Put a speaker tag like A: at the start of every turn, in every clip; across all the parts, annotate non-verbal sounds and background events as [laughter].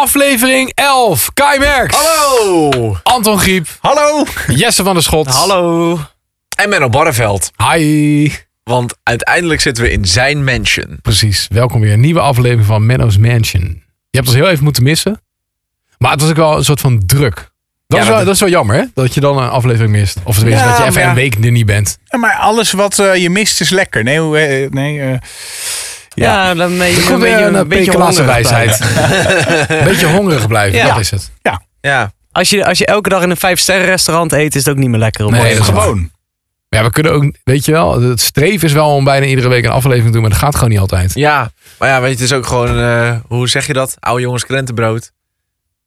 A: aflevering 11. Kai Merks.
B: Hallo!
A: Anton Griep.
B: Hallo!
A: Jesse van der Schot.
B: Hallo! En Menno Barreveld.
A: Hi.
B: Want uiteindelijk zitten we in zijn mansion.
A: Precies. Welkom weer. Een nieuwe aflevering van Menno's Mansion. Je hebt ons heel even moeten missen. Maar het was ook wel een soort van druk. Dat, is, wel,
B: dat-
A: dat is wel jammer, hè? Dat je dan een aflevering mist. Of tenminste,
C: Ja,
A: dat je even
C: maar ja.
A: een week er niet bent.
C: Ja, maar alles wat eh, je mist is lekker. Nee, hoe- eh, nee eh,
D: Ja, dan eh, ben je
A: Ik
D: een
A: kom
D: beetje
A: weer
D: een
A: een
D: beetje
A: beetje
D: hongerig
A: wijsheid. Een [laughs] beetje hongerig blijven,
D: Ja.
A: dat is het.
B: Ja.
D: Als je, als je elke dag in een vijfsterren restaurant eet, is het ook niet meer lekker. Op
A: Nee, dat is waar.
C: gewoon.
A: Maar ja, we kunnen ook, weet je wel, het streven is wel om bijna iedere week een aflevering te doen, maar dat gaat gewoon niet altijd.
B: Ja. Maar ja, weet je, het is ook gewoon, eh, hoe zeg je dat? Oude jongens krentenbrood.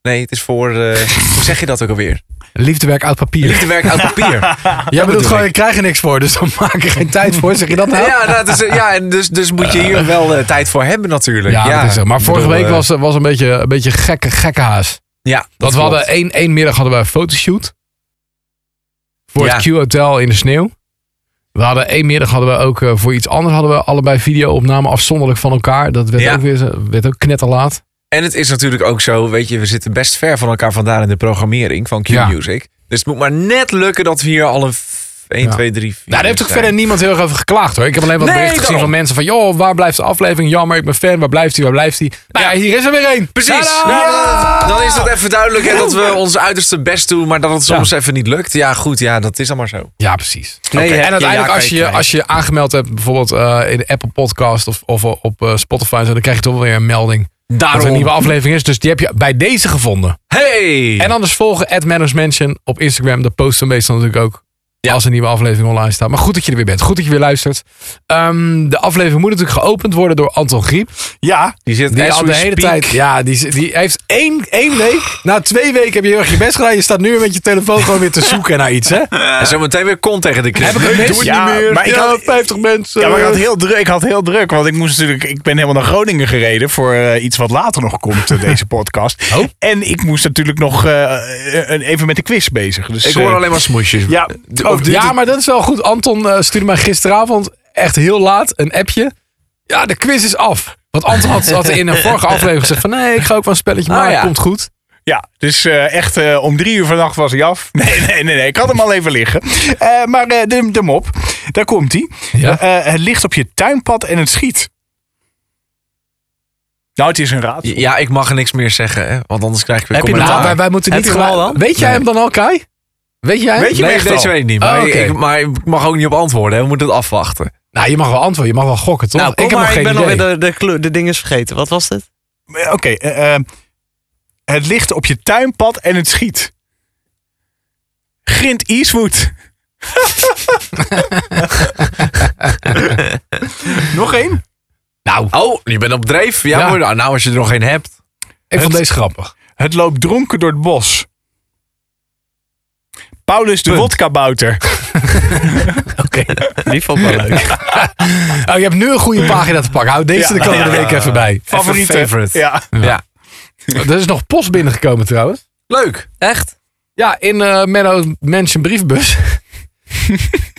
B: Nee, het is voor, eh, hoe zeg je dat ook alweer?
A: Liefdewerk uit papier.
B: Liefdewerk uit
A: [laughs]
B: papier.
A: Jij bedoelt
B: bedoel
A: gewoon, ik krijg er niks voor, dus dan [laughs] maak ik geen tijd voor. Zeg je dat nou?
B: ja, nou, dus, eh, ja en dus, dus moet je hier wel eh, tijd voor hebben natuurlijk.
A: Ja, dat is het. Maar
B: Ik
A: vorige
B: bedoel,
A: week
B: eh,
A: was, was een beetje een beetje gekke, gekke haas.
B: Ja,
A: Dat we
B: klopt.
A: hadden één, één middag hadden we een fotoshoot. Voor het
B: Ja.
A: Q-hotel in de sneeuw. We hadden één middag hadden we ook eh, voor iets anders hadden we allebei videoopnamen afzonderlijk van elkaar. Dat werd
B: Ja.
A: ook weer zo- werd ook knetterlaat. Nou,
B: En het is natuurlijk ook zo, weet je, we zitten best ver van elkaar vandaan in de programmering van
A: Ja.
B: Q-Music. Dus het moet maar net lukken dat we hier al een f- 1,
A: Ja.
B: 2, 3, 4...
A: Nou, daar heeft ook verder niemand heel erg over geklaagd hoor. Ik heb alleen wat
B: Nee,
A: berichten gezien van
B: daarom.
A: mensen van joh, waar blijft de aflevering? Jammer, ik ben fan. Waar blijft hij? Waar blijft hij? Nou ja, hier is er weer één.
B: Precies.
A: Tadaa!
B: Ja, dan is dat even duidelijk hè, dat we ons uiterste best doen, maar dat het soms even niet lukt. Ja, goed, ja, dat is dan maar zo.
A: Ja, precies.
D: Nee,
A: Oké,
D: je
A: en
D: hebt je
A: uiteindelijk,
D: ja
A: als, je,
D: kwijt.
A: als je aangemeld hebt, bijvoorbeeld eh, in de Apple Podcast of, of op eh, Spotify, zo, dan krijg je toch wel weer een melding dat er een nieuwe aflevering is. Dus die heb je bij deze gevonden.
B: Hey!
A: En anders volgen at Manners Mansion op Instagram. Dat posten we meestal natuurlijk ook
B: Ja.
A: als een nieuwe aflevering online staat. Maar goed dat je er weer bent. Goed dat je weer luistert. Ehm, de aflevering moet natuurlijk geopend worden door Anton Griep.
C: Ja,
B: die zit
A: Die
B: as
A: al
B: we
A: de hele
B: speak.
A: tijd. Ja, die, zit- die heeft één, één week. Na twee weken heb je heel erg je best gedaan. Je staat nu met je telefoon gewoon weer te zoeken naar
B: [laughs]
A: iets. Hè?
B: En eh, zometeen weer kont tegen de knip.
A: Heb ik
B: Nee,
A: een
B: doe
A: mis?
B: het
C: Ja,
B: niet meer.
C: maar ik
B: Ja,
C: had-
B: 50 mensen.
C: ja maar ik,
D: Eh.
C: had heel druk, ik had heel druk. Want ik moest natuurlijk. Ik ben helemaal naar Groningen gereden voor eh, iets wat later nog komt, eh,
D: [laughs]
C: deze podcast.
A: Oh.
C: En ik moest natuurlijk nog eh, eh, even met de quiz bezig. Dus,
B: Ik hoor
C: eh,
B: alleen maar smoesjes.
C: Ja,
B: De- of dit-
A: Oh, ja, maar dat is wel goed. Anton eh, stuurde mij gisteravond echt heel laat een appje. Ja, de quiz is af. Want Anton had, had in een vorige aflevering gezegd van... nee, ik ga ook wel een spelletje
B: Ah,
A: maken,
B: ja.
A: komt goed.
C: Ja, dus eh, echt eh, om drie uur vannacht was hij af. [laughs] Nee, nee, nee, nee. Ik had hem al even liggen. Eh, maar eh, de, de mop, daar komt hij. Eh,
A: Ja.
C: het ligt op je tuinpad en het schiet. Nou, het is een raadsel.
B: Ja, ik mag er niks meer zeggen, hè, want anders krijg ik weer
D: Heb je
B: commentaar.
A: Nou, wij, wij moeten
D: Heb
A: niet...
D: je hem al
A: gelijk-
D: dan?
A: Weet jij hem dan al, Kai? Weet jij hem?
C: Weet je hem
B: Nee,
C: echt
B: deze
C: al?
B: weet ik niet.
A: Oh,
B: Maar,
A: oké.
B: ik, maar ik mag ook niet op antwoorden. Hè. We moeten het afwachten.
A: Nou, je mag wel antwoorden. Je mag wel gokken, toch?
D: Nou, kom
A: ik heb
D: maar,
A: nog
D: ik
A: geen
D: ben
A: idee.
D: alweer de, de, clu- de dingen vergeten. Wat was dit?
C: Eh, Oké, eh, eh, het ligt op je tuinpad en het schiet. Grint Eastwood. [laughs] Nog één?
A: Nou,
B: Oh, je bent op dreef. Ja,
A: Ja.
B: hoor. Nou, nou, als je er nog geen hebt.
A: ik vond deze grappig.
C: Het loopt dronken door het bos. Paulus de
B: Punt.
C: wodkabouter.
A: Oké.
D: Die vond ik wel leuk.
A: Oh, je hebt nu een goede pagina te pakken. Hou deze
C: Ja.
A: de komende
C: Ja.
A: week even bij.
C: Favoriete.
B: favorite.
C: Ja.
B: Ja.
A: Er is nog post binnengekomen trouwens.
B: Leuk.
D: Echt?
A: Ja, in eh Menno's Mansion briefbus.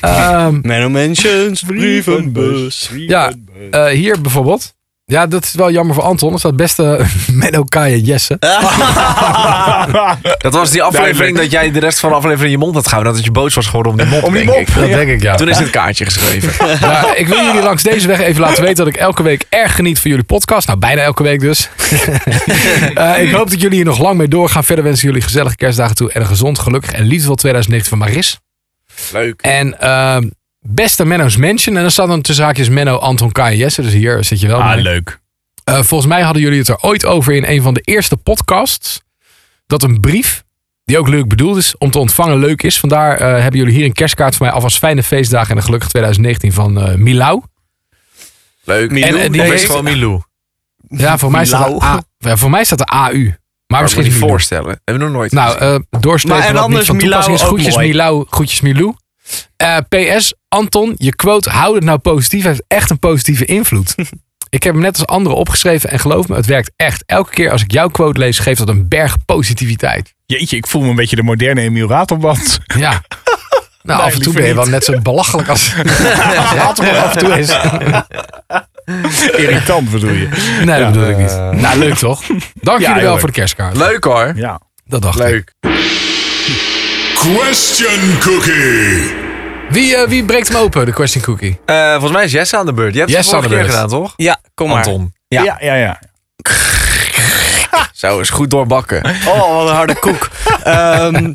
A: Ehm
D: Menno Mansions, brievenbus.
A: Ja, eh, hier bijvoorbeeld. Ja, dat is wel jammer voor Anton. Er staat beste [laughs] Menno, Kai en Jesse.
B: Dat was die aflevering
C: Duidelijk.
B: dat jij de rest van de aflevering in je mond had gehouden. Dat het je boos was geworden om die mop,
C: Om die
B: denk
C: mop.
B: ik.
A: Dat denk ik, ja.
B: Toen is het kaartje geschreven.
A: Ja, Ik wil jullie langs deze weg even laten weten dat ik elke week erg geniet van jullie podcast. Nou, bijna elke week [laughs] dus. Eh, ik hoop dat jullie hier nog lang mee doorgaan. Verder wensen jullie gezellige kerstdagen toe en een gezond, gelukkig en liefdevol 2019 van Maris.
B: Leuk.
A: En ehm, beste Menno's Mansion. En dan staat dan tussen haakjes Menno, Anton, Kai en Jesse. Dus hier zit je wel. mee.
C: leuk.
A: Eh, volgens mij hadden jullie het er ooit over in een van de eerste podcasts. Dat een brief, die ook leuk bedoeld is, om te ontvangen leuk is. Vandaar eh, hebben jullie hier een kerstkaart voor mij. Alvast fijne feestdagen en een gelukkig 2019 van eh Milau.
B: Leuk.
A: En, eh, die
B: Of
A: weet-
B: is het gewoon Milou.
A: Ja, voor mij, staat er,
D: Milau?
A: A, ja, voor mij staat er AU. Maar Ah, misschien
B: je
A: is Milou.
B: voorstellen. Hebben we nog nooit
A: Nou,
B: gezien.
A: eh doorstrepen
D: Maar en
A: wat niet
D: anders
A: van toepassing is.
D: Milau ook
A: Groetjes
D: mooi.
A: Milau, groetjes Milou. Eh, PS, Anton, je quote, hou het nou positief, heeft echt een positieve
D: [laughs]
A: invloed. ik heb hem net als anderen opgeschreven en geloof me, het werkt echt. Elke keer als ik jouw quote lees, geeft dat een berg positiviteit.
C: Jeetje, ik voel me een beetje de moderne Emiel
B: [laughs]
C: Ratelband.
D: [laughs]
A: Ja. Nou, af en toe
C: liever
A: ben je wel
C: niet.
A: net zo belachelijk als als het af en toe is.
C: Irritant bedoel je.
A: Nee, dat bedoel ik niet.
B: eh.
A: Nou, leuk toch? Dank jullie wel
C: heel
A: voor de kerstkaart.
B: Leuk hoor.
C: Ja.
A: Dat dacht ik.
B: Leuk.
E: Question Cookie.
A: Wie, eh, wie breekt hem open, de question cookie?
B: Eh, volgens mij is Jesse aan de beurt. Je hebt
A: Jesse
B: het de vorige
A: aan
B: keer
A: de
B: gedaan, toch?
D: Ja, kom maar.
B: Anton.
C: Ja. ja, ja,
B: Zo, is goed doorbakken.
D: Oh, wat een harde koek. Ehm,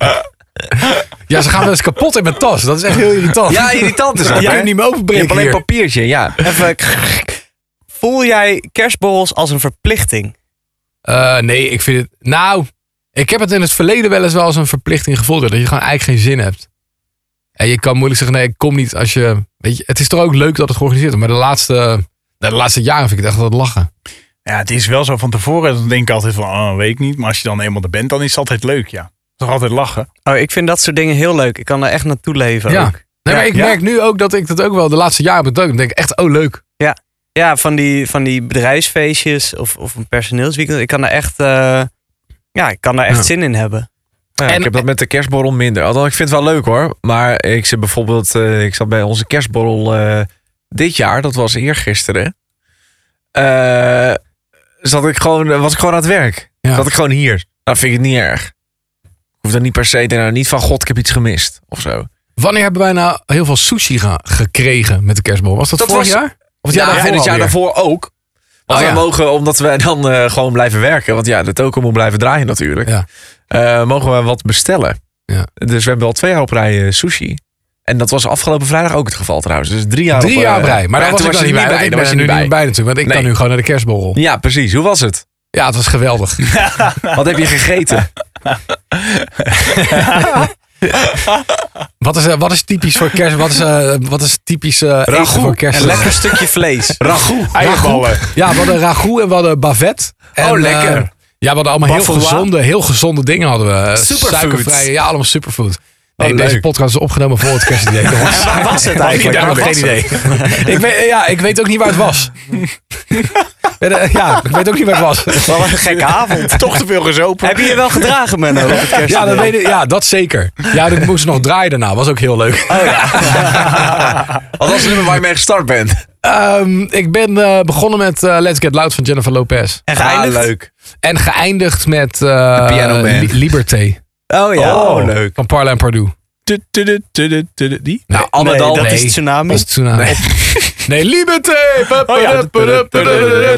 A: Ja, ze gaan wel eens kapot in mijn tas. Dat is echt heel irritant.
B: Ja, irritant is dat, [laughs]
A: Je
B: hè?
A: kunt niet meer
B: Je
A: openbreken
B: hebt alleen
A: hier.
B: papiertje, ja.
D: even. Voel jij kerstborrels als een verplichting?
A: Eh, nee, ik vind het... Nou, ik heb het in het verleden wel eens wel als een verplichting gevoeld. Dat je gewoon eigenlijk geen zin hebt. En je kan moeilijk zeggen, nee, ik kom niet als je... Weet je, het is toch ook leuk dat het georganiseerd wordt. Maar de laatste, de laatste jaren vind ik het echt wat lachen.
C: Ja, het is wel zo van tevoren. Dan denk ik altijd van, oh, weet ik niet. Maar als je dan eenmaal er bent, dan is het altijd leuk, ja. Toch altijd lachen.
D: Oh, ik vind dat soort dingen heel leuk. Ik kan daar echt naartoe leven.
A: Ja.
D: ook.
A: Nee, maar
C: Ja,
A: ik
C: ja.
A: merk nu ook dat ik dat ook wel de laatste jaren bedank. Dan denk ik echt, oh leuk.
D: ja van, die, van die bedrijfsfeestjes of, of een personeelsweekend. Ik kan daar echt, eh, ja, ik kan daar echt
A: Ja.
D: zin in hebben.
B: Ja,
A: En- eh,
B: ik heb dat met de kerstborrel minder. Althans, ik vind het wel leuk hoor. Maar ik zit bijvoorbeeld, eh, ik zat bij onze kerstborrel eh, dit jaar, dat was eergisteren. Eh zat ik gewoon, eh, was ik gewoon aan het werk.
A: Ja.
B: Zat ik gewoon hier. Dat vind ik niet erg. Ik hoef dan niet per se te nou, niet van god, ik heb iets gemist of zo.
A: Wanneer hebben wij nou heel veel sushi ge- gekregen met de kerstbol? Was dat,
B: Dat
A: vorig
B: was-
A: jaar? Of het
B: Ja,
A: jaar daarvoor
B: en het jaar
A: alweer?
B: daarvoor ook. Want
A: Oh,
B: wij
A: ja.
B: mogen, omdat wij dan eh, gewoon blijven werken. Want ja, de toko moet blijven draaien natuurlijk.
A: Ja.
B: eh, mogen we wat bestellen.
A: Ja.
B: Dus we hebben al twee jaar op rij eh, sushi. En dat was afgelopen vrijdag ook het geval trouwens. Dus drie jaar
A: Drie
B: op, eh,
A: jaar op rij. Maar daar was
B: toen
A: ik dan
B: je
A: niet bij. want Ik ben
B: Daar was
A: er
B: je
A: nu
B: nu
A: niet
B: bij.
A: bij natuurlijk. Want ik kan
B: Nee.
A: nu gewoon naar de kerstborrel.
B: Ja, precies. Hoe was het?
A: Ja, het was geweldig.
B: Wat heb je
A: [laughs]
B: gegeten?
A: Wat is, eh, wat is typisch voor kerst? Wat is, eh, wat is typisch eh, eten
B: Ragout
A: voor kerst?
D: Een lekker [laughs] stukje vlees.
B: Ragout.
C: Eierballen.
A: Ja, we hadden ragout en we hadden bavet. En,
B: Oh, lekker.
A: eh, ja, we hadden allemaal heel
B: Bafouwa.
A: gezonde, heel gezonde dingen hadden we. Eh,
B: Superfood.
A: Suikervrije, ja, allemaal superfood. Nee,
B: Oh,
A: deze
B: leuk.
A: podcast is opgenomen voor het kerstdiner.
B: [laughs]
D: En waar was het
A: Ik
D: eigenlijk?
A: heb nog geen idee. ik, weet, ja, ik weet ook niet waar het was. Ja, de- ja, ik weet ook niet waar het was.
D: Wat een gekke avond.
C: Toch te veel gezopen.
D: Heb je je wel gedragen, Menno? op het kerstdiner?
A: Ja, dat, weet ik, ja, dat zeker. Ja, dat moest nog draaien daarna. Was ook heel leuk.
B: Wat was het nummer waar je mee gestart bent?
A: Ehm, ik ben eh, begonnen met eh, Let's Get Loud van Jennifer Lopez.
D: En geëindigd?
B: Ah, leuk.
A: En geëindigd met eh
B: Piano Man.
A: Li- Liberté
D: Oh ja.
B: Oh, leuk.
A: van Parla en Pardoe.
C: Tu- tu- tu- tu- tu- tu- Die?
A: Nou,
B: Anne
D: Nee,
B: Dal-
D: dat
A: nee.
D: is tsunami.
A: Dat is tsunami. [laughs] Nee, Liberté!
B: Oh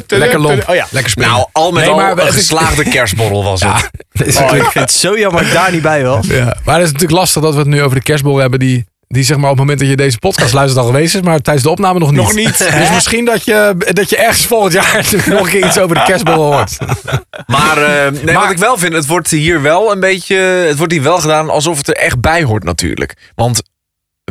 A: Lekker lomp.
C: Oh ja.
A: Lekker spelen.
B: Nou, al met
A: Nee,
B: al
A: maar we-
B: een geslaagde kerstborrel was het.
A: Ja, dat is
D: Oh,
A: natuurlijk-
D: ik vind het zo jammer dat ik daar niet bij was.
A: ja. Maar het is natuurlijk lastig dat we het nu over de kerstbol hebben die... Die zeg maar op het moment dat je deze podcast luistert al geweest is, maar tijdens de opname nog niet.
C: Nog niet,
A: [laughs] Dus misschien dat je, dat je ergens volgend jaar [laughs] nog een keer iets over de kerstbol hoort.
B: Maar, eh, nee, wat ik wel vind, het wordt hier wel een beetje. Het wordt hier wel gedaan alsof het er echt bij hoort, natuurlijk. Want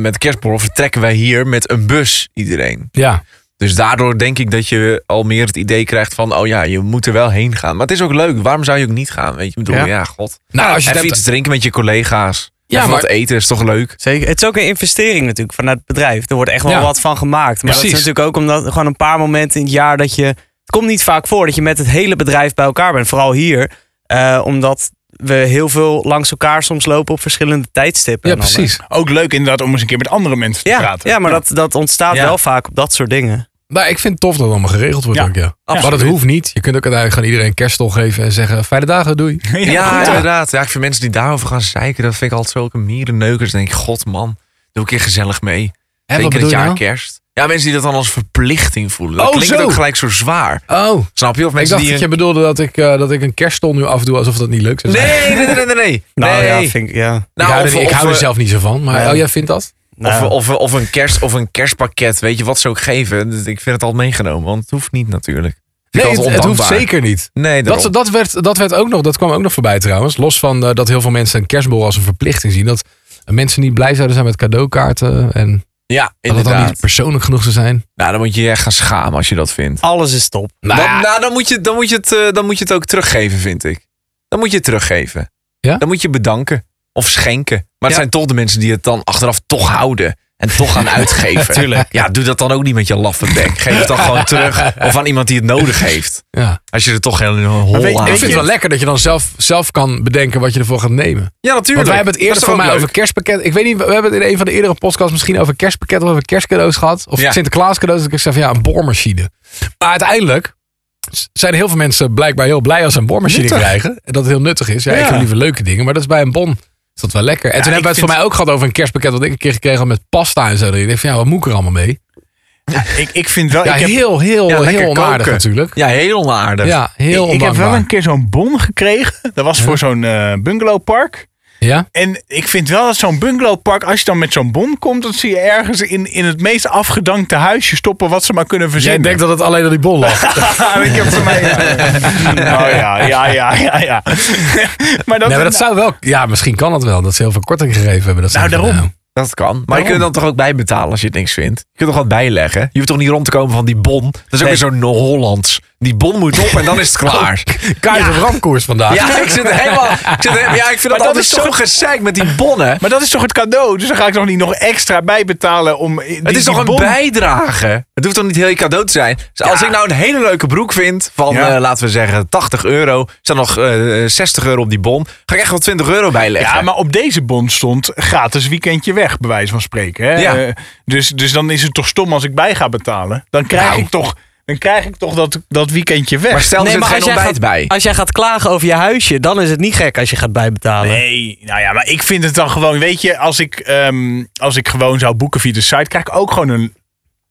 B: met de kerstborrel vertrekken wij hier met een bus iedereen.
A: Ja,
B: Dus daardoor denk ik dat je al meer het idee krijgt van: oh ja, je moet er wel heen gaan. Maar het is ook leuk. Waarom zou je ook niet gaan? Weet je, ik bedoel,
D: Ja.
B: ja, god.
A: nou als je
B: Even
A: het hebt,
B: iets drinken met je collega's.
A: Ja,
B: Ja, even
A: maar-
B: wat eten is toch leuk?
D: Zeker. Het is ook een investering natuurlijk vanuit het bedrijf. Er wordt echt wel
A: Ja.
D: wat van gemaakt. Maar dat
A: Precies.
D: is natuurlijk ook omdat gewoon een paar momenten in het jaar dat je... Het komt niet vaak voor dat je met het hele bedrijf bij elkaar bent. Vooral hier. eh, omdat we heel veel langs elkaar soms lopen op verschillende tijdstippen.
A: ja
D: en alles.
B: eh.
A: precies.
C: Ook leuk inderdaad om eens een keer met andere mensen te
D: Ja,
C: praten. [laughs]
D: ja, maar dat, dat ontstaat
B: Ja.
D: wel vaak op dat soort dingen.
A: Nou, ik vind het tof dat het allemaal geregeld wordt.
C: Ja,
A: ook, ja. Maar dat
B: absoluut.
A: hoeft niet. Je kunt ook uiteindelijk gewoon iedereen een kerststol geven en zeggen: Fijne dagen, doei.
B: Ja,
C: goed,
B: inderdaad. Ja, ik vind mensen die daarover gaan zeiken, dat vind ik altijd zulke mierenneukers. Dan denk ik, god man, doe een keer gezellig mee.
A: En
B: Zeker het jaar kerst. Ja, mensen die dat dan als verplichting voelen. Dat
A: nou? Oh,
B: klinkt
A: zo.
B: ook gelijk zo zwaar.
A: Oh,
B: Snap je? Of
A: ik
B: mensen
A: dacht
B: die...
A: dat je bedoelde dat ik, eh, dat ik een kerststol nu afdoe alsof dat niet leuk zou zijn.
B: Nee, nee, nee, nee, nee, nee.
A: [laughs]
D: Nou
B: Nee. Nou,
D: ja, vind ik... Ja.
A: ik hou, er,
B: of-
A: ik hou
B: of-
A: er zelf niet zo van. Maar
D: Nee.
A: oh, jij vindt dat?
B: Of,
D: Nou,
B: of, of, een kerst, of een kerstpakket, weet je, wat ze ook geven. Dus Ik vind het al meegenomen, want het hoeft niet natuurlijk. Vind
A: Nee,
B: ik altijd
A: het, het hoeft
B: ondankbaar.
A: zeker niet.
B: Nee,
A: Dat,
B: dat,
A: dat, werd, dat, werd ook nog, dat kwam ook nog voorbij trouwens. Los van eh, dat heel veel mensen een kerstbol als een verplichting zien. Dat mensen niet blij zouden zijn met cadeaukaarten. En
B: ja,
A: dat het dan
B: inderdaad.
A: niet persoonlijk genoeg zou zijn.
B: Nou, dan moet je je echt gaan schamen als je dat vindt.
D: alles is top.
A: Nou,
B: dan,
A: ja,
B: nou, dan, moet je, dan, moet je het, eh, dan moet je het ook teruggeven, vind ik. Dan moet je het teruggeven.
A: Ja?
B: Dan moet je bedanken of schenken. Maar het
A: Ja.
B: zijn toch de mensen die het dan achteraf toch houden. En en
A: [laughs]
B: toch gaan uitgeven.
D: Tuurlijk.
B: Ja, doe dat dan ook niet met je laffe bek. Geef het dan gewoon
A: [laughs]
B: terug. Of aan iemand die het nodig heeft.
A: Ja.
B: Als je er toch geen hol
C: weet-
B: aan
A: Ik
C: weet
A: vind het
B: hebt.
A: wel lekker dat je dan zelf, zelf kan bedenken wat je ervoor gaat nemen.
B: Ja, natuurlijk.
A: Want wij hebben het
B: Dat
A: eerder
B: is
A: voor
B: ook
A: mij
B: leuk.
A: over kerstpakket. Ik weet niet, we hebben het in een van de eerdere podcasts misschien over kerstpakket of over kerstcadeaus gehad. Of
B: Ja.
A: Sinterklaas cadeaus. Dat ik zei van ja, een boormachine. Maar uiteindelijk s- zijn heel veel mensen blijkbaar heel blij als ze een boormachine
B: Nuttig.
A: krijgen. En dat het heel nuttig is. Ja, ik
B: Ja.
A: heb liever leuke dingen, maar dat is bij een bon. Is dat wel lekker. En toen hebben we
B: ik
A: het voor mij ook gehad over een kerstpakket wat ik een keer gekregen had met pasta en zo. erin. Ik dacht van ja, wat moet ik er allemaal mee?
C: eh, Ik, ik vind wel.
A: Ja,
C: ik heb,
A: heel, heel,
B: Ja,
A: heel
B: lekker
A: onaardig
B: koken.
A: natuurlijk.
B: Ja, heel onaardig.
A: Ja, heel
C: ik heb wel
A: ondankbaar.
C: een keer zo'n bon gekregen. Dat was voor zo'n eh, bungalowpark.
A: Ja?
C: En ik vind wel dat zo'n bungalowpark, als je dan met zo'n bon komt, dan zie je ergens in, in het meest afgedankte huisje stoppen wat ze maar kunnen
A: Jij
C: verzinnen.
A: denkt dat het alleen aan die bon lag.
C: Ja, ik heb voor mij.
B: [laughs]
C: Oh ja, ja, ja, ja, ja. maar dat,
A: Nee, maar dat zou wel. Ja, misschien kan dat wel. Dat ze heel veel korting gegeven hebben. Dat ze
C: Nou,
A: hebben
C: daarom.
A: gedaan.
B: Dat kan. Maar je kunt dan toch ook bijbetalen als je het niks vindt. Je kunt toch wat bijleggen. Je hoeft toch niet rond te komen van die bon. Dat is ook weer zo'n Hollands. Die bon moet op en
A: [laughs]
B: dan is het klaar.
A: Oh, Kaart op ramkoers vandaag.
B: Ja, ik zit helemaal... Ik zit, he- ja, ik vind dat,
C: dat
B: altijd
C: is
B: zo
C: toch-
B: gezeik met die bonnen.
C: nou- maar dat is toch het cadeau? Dus dan ga ik nog niet nog extra bijbetalen om. die-
B: Het is
C: die
B: toch een
C: bon-
B: bijdrage? Het hoeft toch niet heel je cadeau te zijn? Dus als ik nou een hele leuke broek vind van,
C: Ja.
B: eh, laten we zeggen, 80 euro. Staan nog eh, 60 euro op die bon. Ga ik echt wel 20 euro bijleggen.
C: Ja, maar op deze bon stond gratis weekendje weg, bij wijze van spreken. Hè?
B: Ja.
C: Eh, dus, dus dan is het toch stom als ik bij ga betalen. Dan krijg
B: Nou.
C: ik toch, dan krijg ik toch dat, dat weekendje weg.
B: Maar stel, er zit geen
D: jij
B: ontbijt
D: gaat,
B: bij.
D: als jij gaat klagen over je huisje, dan is het niet gek als je gaat bijbetalen.
C: Nee, nou ja, maar ik vind het dan gewoon, weet je, als ik, ehm, als ik gewoon zou boeken via de site, krijg ik ook gewoon een,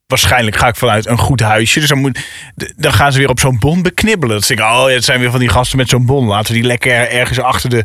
C: waarschijnlijk ga ik vanuit een goed huisje. Dus dan, moet, d- dan gaan ze weer op zo'n bon beknibbelen. Dat denk ik, oh, ja, het zijn weer van die gasten met zo'n bon. Laten we die lekker ergens achter de,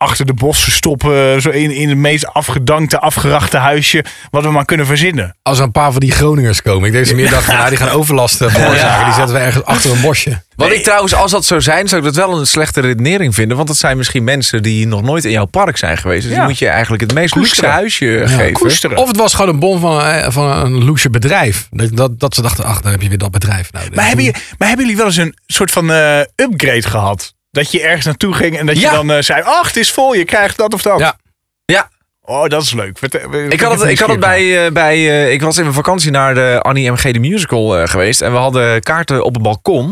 C: achter de bossen stoppen, zo in, in het meest afgedankte, afgerachte huisje, wat we maar kunnen verzinnen.
A: Als er een paar van die Groningers komen. Ik denk ze meer dachten, nou, die gaan overlast eh, veroorzaken. Die zetten we ergens achter een bosje.
C: Ah,
B: Wat ik trouwens, als dat zo zijn, zou ik dat wel een slechte redenering vinden. Want dat zijn misschien mensen die nog nooit in jouw park zijn geweest. Dus
C: Ja.
B: die moet je eigenlijk het meest
C: Koesteren.
B: luxe huisje geven.
C: Koesteren.
A: Of het was gewoon een bon van, eh, van een luxe bedrijf. Dat, dat, dat ze dachten, ach, daar heb je weer dat bedrijf. Nou,
C: Maar
B: Dus
C: hebben, je, maar hebben jullie wel eens een soort van eh, upgrade gehad? Dat je ergens naartoe ging en dat
B: Ja.
C: je dan eh, zei, ach, het is vol, je krijgt dat of dat.
A: Ja.
B: Ja.
C: Oh, dat is leuk. Vertel-
B: Ik had het, ik had het bij, eh, bij eh, ik was in mijn vakantie naar de Annie MG de Musical eh, geweest. En we hadden kaarten op het balkon.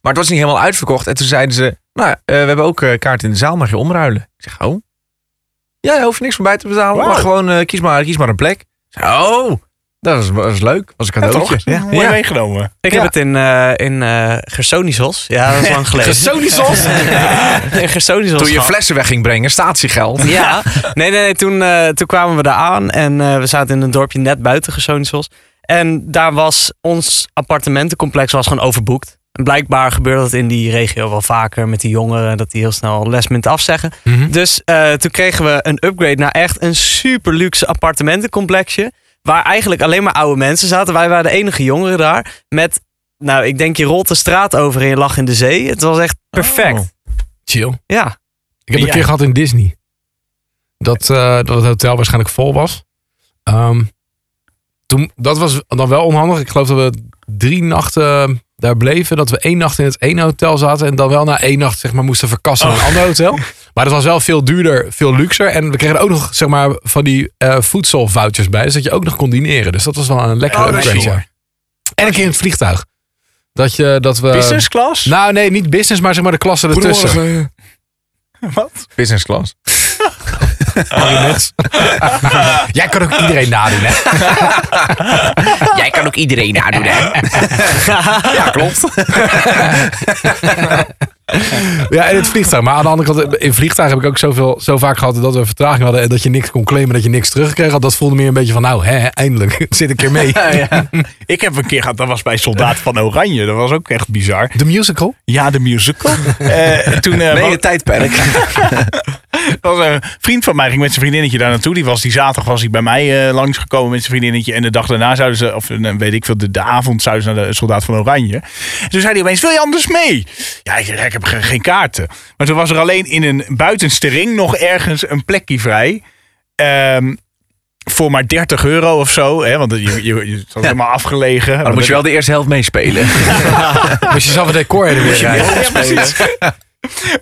B: Maar het was niet helemaal uitverkocht. En toen zeiden ze, nou, eh, we hebben ook eh, kaarten in de zaal, mag je omruilen? Ik zeg, oh. Ja, je hoeft niks voor bij te betalen.
C: Wauw.
B: Maar gewoon, eh, kies, maar, kies maar een plek. Ik zeg, oh, dat is, dat is leuk. Was een
C: Ja, toch?
B: cadeautje.
C: Ja. Mooi
B: Ja.
C: meegenomen.
D: Ik
B: Ja.
D: heb het in, eh in eh Gersonisos. Ja, dat is [laughs] lang
C: [laughs]
D: geleden.
B: Gersonisos?
D: in Gersonisos.
B: Toen je
D: gehad.
B: flessen weg ging brengen, statiegeld.
D: Ja, [laughs] nee, nee, nee. Toen, eh, toen kwamen we daar aan en eh, we zaten in een dorpje net buiten Gersonisos. En daar was ons appartementencomplex was gewoon overboekt. En blijkbaar gebeurde dat in die regio wel vaker met die jongeren, dat die heel snel lesmint afzeggen.
A: Mhm.
D: Dus eh, toen kregen we een upgrade naar echt een super luxe appartementencomplexje. Waar eigenlijk alleen maar oude mensen zaten. Wij waren de enige jongeren daar. Met, nou, ik denk je rolt de straat over en je lag in de zee. Het was echt perfect.
B: Oh.
A: Chill.
D: Ja.
A: Ik heb een
C: Ja.
A: keer gehad in Disney. Dat, eh, dat het hotel waarschijnlijk vol was. Ehm, toen, dat was dan wel onhandig. Ik geloof dat we drie nachten eh, daar bleven. Dat we één nacht in het ene hotel zaten. En dan wel na één nacht zeg maar, moesten verkassen
B: Oh.
A: naar een ander
B: [laughs]
A: hotel. Maar dat was wel veel duurder, veel luxer. En we kregen er ook nog zeg maar, van die eh voedselvouchers bij. Dus dat je ook nog kon dineren. Dus dat was wel een lekkere
B: Oh, dat is
A: upgrade.
B: chill.
A: ja. En een keer in het vliegtuig. Dat, je, dat
B: Eh,
A: we...
C: Business class?
A: Nou nee, niet business, maar zeg maar de klasse ertussen.
C: Wat?
B: Business
A: [laughs]
B: class.
A: Marionet. Jij kan ook iedereen nadoen, hè?
B: Jij kan ook iedereen nadoen, hè? [laughs] ja, klopt.
A: Ja, en het vliegtuig. Maar aan de andere kant, in vliegtuig heb ik ook zoveel, zo vaak gehad dat we vertraging hadden. En dat je niks kon claimen, dat je niks terugkreeg. had. Dat voelde meer een beetje van, nou, hè, eindelijk [laughs] zit ik hier mee.
B: nou,
C: [laughs] Ik heb een keer gehad, dat was bij Soldaat van Oranje. Dat was ook echt bizar.
A: De musical?
C: Ja, de
B: [laughs]
C: musical. Eh, toen, eh,
B: Nee,
C: wa-
B: het tijdperk.
C: [laughs] was een vriend van mij ging met zijn vriendinnetje daar naartoe. Die was die zaterdag was hij bij mij eh, langsgekomen met zijn vriendinnetje. En de dag daarna zouden ze, of eh, weet ik veel, de, de avond zouden ze naar de Soldaat van Oranje. En toen zei hij opeens, wil je anders mee? Ja, ik, zeg, ik heb ge- geen kaarten. Maar toen was er alleen in een buitenste ring nog ergens een plekje vrij. Ehm, voor maar 30 euro of zo. Hè? Want je, je, je, het was helemaal afgelegen.
B: Maar dan moet je wel de eerste helft meespelen.
A: Moest je zelf het decor heen en weer rijden.
C: Ja, precies. [laughs]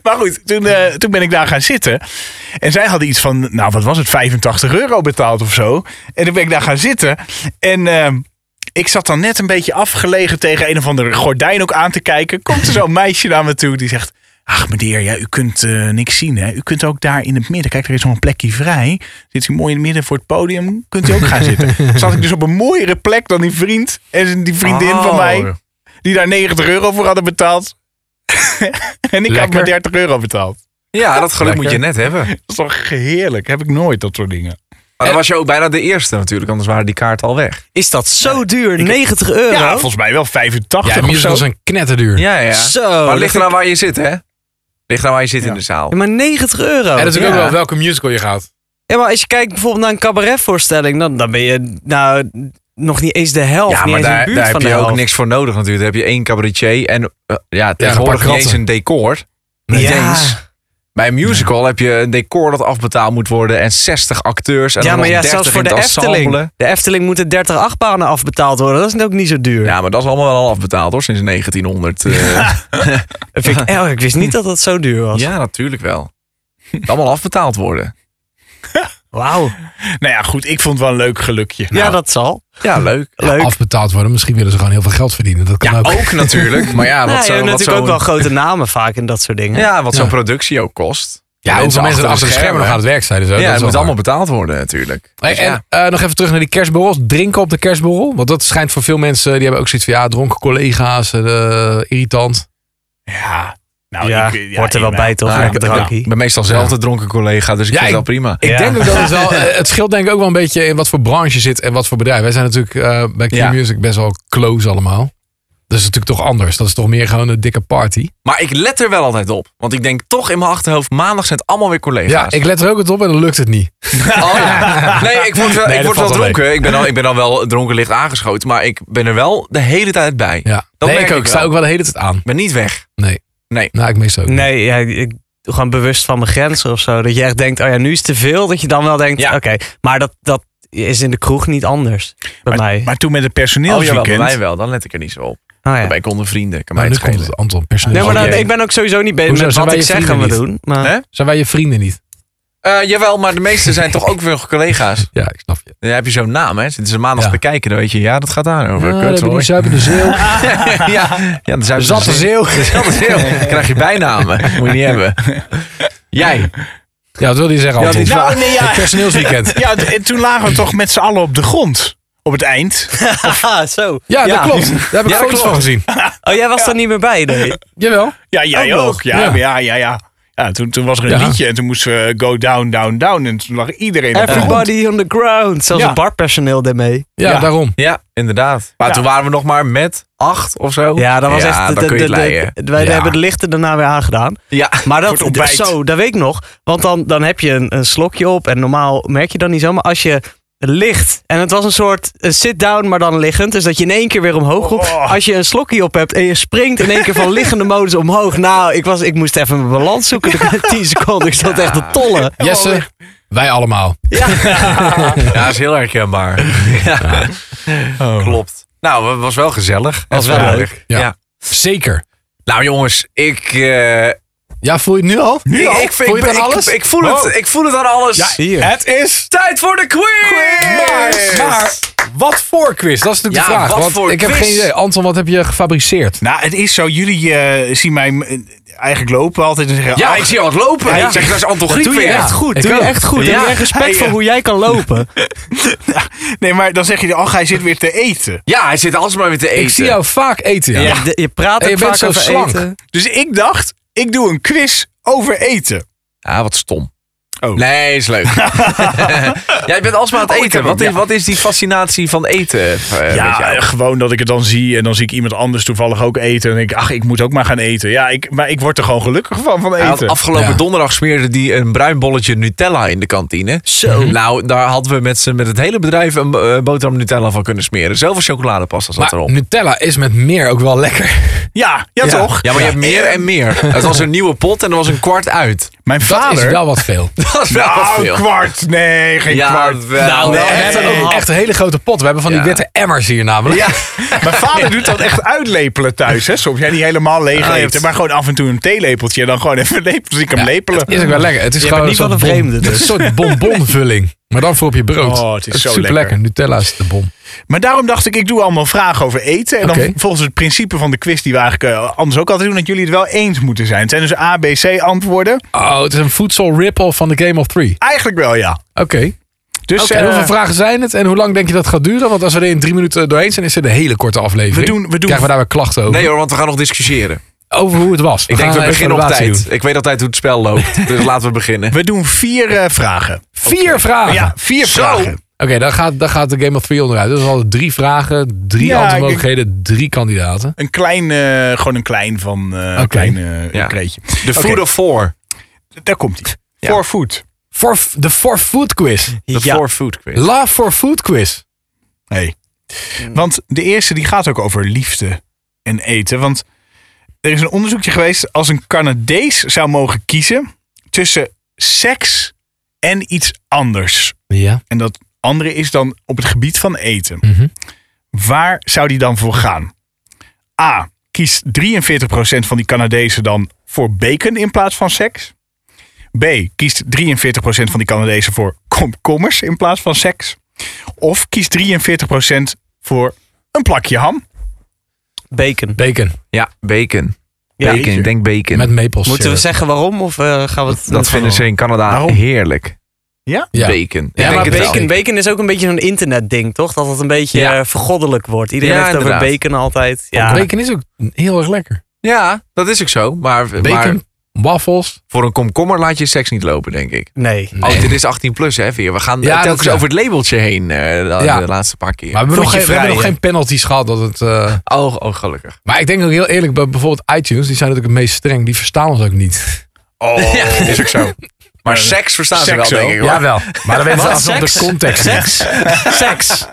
C: Maar goed, toen, eh, toen ben ik daar gaan zitten. En zij hadden iets van, nou wat was het, 85 euro betaald of zo. En toen ben ik daar gaan zitten. En ehm, ik zat dan net een beetje afgelegen tegen een of andere gordijn ook aan te kijken. Komt er zo'n meisje naar me toe die zegt... Ach meneer, ja, u kunt eh, niks zien hè. U kunt ook daar in het midden, kijk er is nog een plekje vrij. Zit u mooi in het midden voor het podium, kunt u ook gaan zitten. Zat ik dus op een mooiere plek dan die vriend en die vriendin van mij. Die daar 90 euro voor hadden betaald. [laughs] en ik had
A: Lekker.
C: maar 30 euro betaald.
B: Ja, dat geluk
A: Lekker.
B: moet je net hebben. Maar
C: Dat is toch heerlijk. Heb ik nooit dat soort dingen.
B: dan was je ook bijna de eerste natuurlijk, anders waren die kaarten al weg.
D: Is dat zo duur? 90 euro?
C: Ja, volgens mij wel
A: Ja,
C: 85 of zo.
A: musicals zijn knetterduur.
B: Ja, ja.
D: Zo.
B: maar ligt er nou waar je zit, hè? Ligt nou waar je zit
C: Ja.
B: in de zaal.
D: Ja, maar 90 euro.
A: En dat is ook
B: Ja.
A: wel welke musical je gaat.
D: Ja, maar als je kijkt bijvoorbeeld naar een cabaretvoorstelling, dan, dan ben je nou nog niet eens de helft.
B: Ja,
D: niet
B: maar
D: eens in de
B: daar,
D: buurt
B: daar heb
D: van
B: je
D: de
B: ook
D: helft.
B: niks voor nodig natuurlijk. Daar heb je één cabaretier en eh, ja,
A: paar
B: tegenwoordig niet eens
A: kratten.
B: een decor. Niet eens. Bij een musical heb je een decor dat afbetaald moet worden en 60 acteurs. En
D: Ja,
B: dan
D: maar
B: nog
D: ja,
B: 30
D: zelfs voor
B: in
D: de
B: het
D: Efteling.
B: ensemble.
D: De Efteling moeten 30 achtbanen afbetaald worden. Dat is ook niet zo duur.
B: Ja, maar dat is allemaal wel al afbetaald hoor, sinds 1900. eh.
D: Dat Vind
B: [laughs]
D: ik, erg. ik wist niet dat dat zo duur was.
B: ja, natuurlijk wel. Allemaal afbetaald worden.
D: Wauw.
C: Nou ja, goed. Ik vond het wel een leuk gelukje. Nou,
D: Ja, dat zal.
B: Nou. Ja, leuk.
D: Leuk.
A: Afbetaald worden. Misschien willen ze gewoon heel veel geld verdienen. Dat kan
B: Ja,
A: ook.
B: ook natuurlijk. Maar
A: [laughs]
B: ja,
D: Nou,
B: wat
D: je
B: zo'n
D: hebt
B: wat
D: natuurlijk ook
B: zo'n
D: wel grote namen vaak in dat soort dingen.
B: ja, wat zo'n
A: Ja.
B: productie ook kost.
A: Ja, hoeveel mensen er achter de schermen nog aan het werk zijn. en zo, dat
B: Ja,
A: is
B: het
A: wel
B: moet
A: waar.
B: allemaal betaald worden natuurlijk.
A: Hey,
B: Dus
A: en
B: ja.
A: eh, nog even terug naar die kerstborrels. Drinken op de kerstborrel. Want dat schijnt voor veel mensen. Die hebben ook zoiets van ja, dronken collega's. eh, de- irritant.
C: Ja. Nou,
D: Ja,
C: ik, ja,
D: hoort er wel
C: ik-
D: bij toch?
B: Nou,
D: een
B: ik-
D: drankie.
B: Ik ben meestal zelf de dronken collega, dus ik
A: Ja,
B: vind
A: ik-
B: dat prima.
A: Ik
D: Ja.
A: denk ook dat het wel. eh, het scheelt denk ik ook wel een beetje in wat voor branche je zit en wat voor bedrijf. Wij zijn natuurlijk eh, bij Q
B: Ja.
A: Music best wel close allemaal. Dat is natuurlijk toch anders. Dat is toch meer gewoon een dikke party.
B: Maar ik let er wel altijd op. Want ik denk toch in mijn achterhoofd, maandag zijn het allemaal weer
A: Ja,
B: collega's.
A: ik let er ook het op en dan lukt het niet.
B: [laughs] Oh, ja. Nee, ik word
A: [laughs]
B: wel,
A: Nee,
B: ik
A: dat
B: word wel
A: valt wel mee.
B: dronken. Ik ben, al, ik ben al wel dronken licht aangeschoten. Maar ik ben er wel de hele tijd bij.
A: Ja.
B: Dat
A: nee,
B: merk
A: ik ook.
B: ik
A: Ik sta
B: wel.
A: ook wel de hele tijd aan.
B: Ik ben niet weg.
A: Nou, ik meestal ook. niet.
D: Nee, ja, ik, gewoon bewust van mijn grenzen of zo. Dat je echt denkt, oh ja, nu is het te veel. Dat je dan wel denkt,
B: Ja.
D: oké. maar dat, dat is in de kroeg niet anders. Bij mij.
C: Maar toen met het
B: Oh jawel, bij
C: personeelsweekend.
B: mij wel. Dan let ik er niet zo op.
D: Ah, ja.
B: Dan ben ik onder vrienden. Kan
A: Maar
B: mij
A: Nou, nu
B: het
A: komt
B: schelen.
A: het Anton personeel.
D: Nee, maar dan-
B: Oké.
D: ik ben ook sowieso niet bezig
A: Hoezo,
D: met
A: zijn
D: wat
A: wij
D: ik
A: je
D: zeg en we
A: vrienden
D: doen. Maar...
B: Hè?
A: Zijn wij je vrienden niet?
B: Eh, jawel, maar de meeste zijn toch ook weer collega's.
A: Ja, ik snap je.
B: Dan heb je zo'n naam, hè. Zitten ze maandag
A: Ja.
B: te kijken, dan weet je. Ja, dat gaat daarover.
A: Ah,
B: Kut,
A: dan heb ik
B: hoor.
A: die zuipende zeeuw.
B: [laughs] ja, ja, dan zijn
A: Zatte
B: [laughs]
A: zeeuw.
B: Zatte zeeuw. Dan krijg je bijnamen. Moet je niet hebben. Jij.
A: Ja, wat wilde je zeggen,
B: Ja,
A: Anton?
B: die-
C: Nou, nee,
A: [laughs]
C: ja.
A: Het personeelsweekend.
C: ja, t- en toen lagen we toch met z'n allen op de grond. Op het eind.
D: [laughs] Haha, zo.
A: Ja, dat
D: Ja.
A: klopt. Daar heb ik
B: Ja, dat
A: foto's
B: klopt.
A: van gezien.
D: Oh, jij was daar niet meer bij, nee.
A: Jawel.
C: Ja, jij
A: Ook
C: ook.
A: nog.
C: Ja,
A: Ja.
C: maar ja, ja, ja. Ja, toen, toen was er een
A: Ja.
C: liedje en toen moesten we go down, down, down. En toen lag iedereen op de grond.
D: Everybody on the ground. Zelfs
C: Ja.
D: het barpersoneel daarmee.
A: Ja,
C: Ja.
A: daarom.
B: Ja, inderdaad. Maar
C: Ja.
B: toen waren we nog maar met acht of zo.
D: Ja, dat was echt...
B: dan
D: de-
B: kun je het
D: de- de-
B: leiden.
D: de- wij
A: Ja.
D: hebben de lichten daarna weer aangedaan.
B: Ja.
D: Maar dat,
C: Voor het ontbijt.
D: zo, dat weet ik nog. Want dan, dan heb je een, een slokje op en normaal merk je dat niet zo. Maar als je ligt, en het was een soort eh, sit-down, maar dan liggend. Dus dat je in één keer weer omhoog komt.
C: Oh.
D: Als je een slokje op hebt en je springt in één keer van liggende modus omhoog. Nou, ik, was, ik moest even mijn balans zoeken. De [laughs] 10 seconden, ik zat echt te tollen.
A: Jesse, wij allemaal.
B: Ja, dat is heel herkenbaar. [laughs] Ja,
C: Oh.
B: klopt. Nou, het was wel gezellig. Het
D: was wel
B: gezellig.
A: Ja.
B: Ja.
A: Zeker.
B: Nou jongens, ik... eh,
A: Ja, voel je het nu al?
B: ik,
A: al?
B: ik,
A: Voel je
B: ik,
A: het aan
B: ik-
A: alles?
B: Ik, voel
A: Wow.
B: het, ik voel het aan alles.
D: Zie je.
C: Het is...
B: Tijd voor de quiz!
A: Maar, maar wat voor quiz? Dus Dat is natuurlijk
B: Ja,
A: de vraag.
B: wat
A: want
B: voor
A: ik heb
B: quiz?
A: geen idee. Anton, wat heb je gefabriceerd?
C: Nou, het is zo. Jullie eh, zien mij eh, eigenlijk lopen altijd en zeggen...
B: Ja,
C: "Ach,
B: ik zie wat lopen.
C: Ja.
B: Ik zeg, dat is Anton Griek
D: Doe je
B: weer.
D: echt goed.
A: ik
D: Doe je
A: ook.
D: echt goed.
B: Ja.
D: Heb je respect
C: Hey,
D: voor
C: eh.
D: hoe jij kan lopen.
C: "Ah, Nee, maar dan zeg je, ach, hij zit weer te eten.
B: Ja, hij zit alsmaar weer te eten.
A: Ik zie jou vaak eten. Ja.
D: Je, je praat
A: En je
D: ook
A: bent
D: vaak
A: zo
D: over
A: slank.
D: eten.
C: Dus ik dacht, ik doe een quiz over eten.
B: Ah, wat stom.
C: Oh.
B: Nee, is
A: [laughs]
B: leuk. [laughs] Jij bent alsmaar aan het
C: Oh, ik
B: eten.
C: heb
B: wat,
C: hem,
B: is,
C: ja.
B: wat is die fascinatie van eten? eh, met
C: ja,
B: jou?
C: gewoon dat ik het dan zie en dan zie ik iemand anders toevallig ook eten. En denk ik, ach, ik moet ook maar gaan eten. Ja, ik, maar ik word er gewoon gelukkig van, van
B: Hij had
C: eten.
B: afgelopen
A: Ja.
B: donderdag smeerde die een bruin bolletje Nutella in de kantine.
D: Zo.
B: Nou, daar hadden we met, z'n- met het hele bedrijf een eh, boterham Nutella van kunnen smeren. Zelfs chocoladepasta zat
A: Maar
B: erop.
A: Nutella is met meer ook wel lekker. [laughs]
C: ja, ja, toch?
B: Ja, maar je hebt meer [laughs]
C: Eh,
B: en meer. Het was een nieuwe pot en er was een kwart uit.
C: Mijn
A: Dat is
C: vader...
A: wel wat veel.
B: Dat is wel wat
C: Nou,
B: veel.
C: kwart. Nee, geen
B: Ja,
C: kwart.
B: wel.
A: Nou, we
B: Nee.
A: hebben ook echt een hele grote pot. We hebben van die
B: Ja.
A: witte emmers hier namelijk.
B: Ja.
C: Mijn vader doet dat echt uitlepelen thuis. Hè? Soms jij niet helemaal leeg
B: Ah, je
C: eten,
B: hebt-
C: maar gewoon af en toe een theelepeltje. En dan gewoon even lepelen. Dus ik hem
A: Ja,
C: lepelen.
A: [laughs] Is ook wel lekker. Het is
D: Je
A: gewoon
D: bent
A: een
D: niet van
A: soort
D: de
A: bon-
D: vreemde,
A: het is [laughs] Een soort bonbonvulling. Maar dan voor op je brood.
C: Oh, het is zo
A: super
C: lekker.
A: lekker. Nutella is de bom.
C: Maar daarom dacht ik, ik doe allemaal vragen over eten. En
A: Oké.
C: dan volgens het principe van de quiz die we eigenlijk eh, anders ook altijd doen, dat jullie het wel eens moeten zijn. Het zijn dus A, B, C antwoorden.
A: Oh, het is een voedsel ripple van de Game of Three.
C: Eigenlijk wel, ja.
A: Oké.
C: Dus
A: En
C: eh,
A: hoeveel vragen zijn het? En hoe lang denk je dat gaat duren? Want als we er in drie minuten doorheen zijn, is dit een hele korte aflevering.
C: We doen- we doen-
A: Krijgen we daar weer klachten over?
B: Nee hoor, want we gaan nog discussiëren.
A: over hoe het was.
B: Ik denk we
A: gaan even
B: beginnen op
A: evaluatie
B: tijd. Ik weet altijd hoe het spel [laughs] loopt, dus laten we beginnen.
C: we doen vier eh, vragen.
A: doen. Vier vragen.
C: Ja, vier
B: Zo.
C: vragen.
A: Oké, dan, gaat, dan gaat de Game of Three onderuit. Dus al drie vragen, drie
C: Ja,
A: antwoordmogelijkheden, drie kandidaten.
C: Een klein, eh, gewoon een klein van eh
A: Oké.
C: een klein eh,
B: Ja.
C: kreetje.
B: De food
C: Oké.
B: of four.
C: Daar komt hij.
B: Ja.
C: For food.
A: For, de For Food Quiz.
B: De
D: Ja.
B: four food quiz.
A: Love for Food Quiz.
C: Hey. Want de eerste die gaat ook over liefde en eten. Want er is een onderzoekje geweest. Als een Canadees zou mogen kiezen tussen seks en iets anders.
A: Ja.
C: En dat andere is dan op het gebied van eten. Waar zou die dan voor gaan? A. Kiest 43% van die Canadezen dan voor bacon in plaats van seks? B. Kiest 43% van die Canadezen voor komkommers in plaats van seks? Of kiest 43% voor een plakje [laughs] ham?
D: Bacon.
A: Bacon.
B: Ja, bacon.
D: Ja.
B: Bacon, ik denk bacon.
A: Met maple
D: Moeten we
A: syrup.
D: zeggen waarom? Of eh, gaan we het
B: dat vinden ze in Canada
C: Waarom?
B: heerlijk.
A: Ja.
B: Bacon. Ik
A: Ja,
B: denk
D: Ja, maar
B: het wel.
D: bacon, bacon is ook een beetje zo'n internetding, toch? Dat het een beetje
B: Ja.
D: eh, vergoddelijk wordt. Iedereen
B: Ja,
D: heeft het over
B: inderdaad.
D: bacon altijd. Ja.
A: Bacon is ook heel erg lekker.
B: Ja, dat is ook zo. Maar, maar
A: Bacon, waffels.
B: voor een komkommer laat je seks niet lopen, denk ik.
D: Nee.
B: Oh, dit is 18 plus, hè, Veer? We gaan
A: Ja,
B: eh,
A: dat
B: telkens
A: is-
B: over het labeltje heen eh, de,
A: Ja.
B: de laatste paar
A: Maar
B: keer.
A: we hebben, nog
C: Voetje
A: geen, we hebben
C: vrij,
A: nog
C: hè?
A: geen penalties gehad. Dat het, eh,
B: oh, oh, gelukkig.
A: Maar ik denk ook heel eerlijk, bij bijvoorbeeld iTunes, die zijn natuurlijk het meest streng. Die verstaan ons ook niet.
C: Oh,
B: [laughs] Ja, is ook zo. Maar seks verstaan ze
C: Seks
B: wel,
C: wel.
B: denk ik. hoor.
A: Jawel. Maar
D: [laughs]
A: dan weten ze
D: Wat?
A: alsnog de
D: Seks?
A: context. niet.
D: Seks? Seks.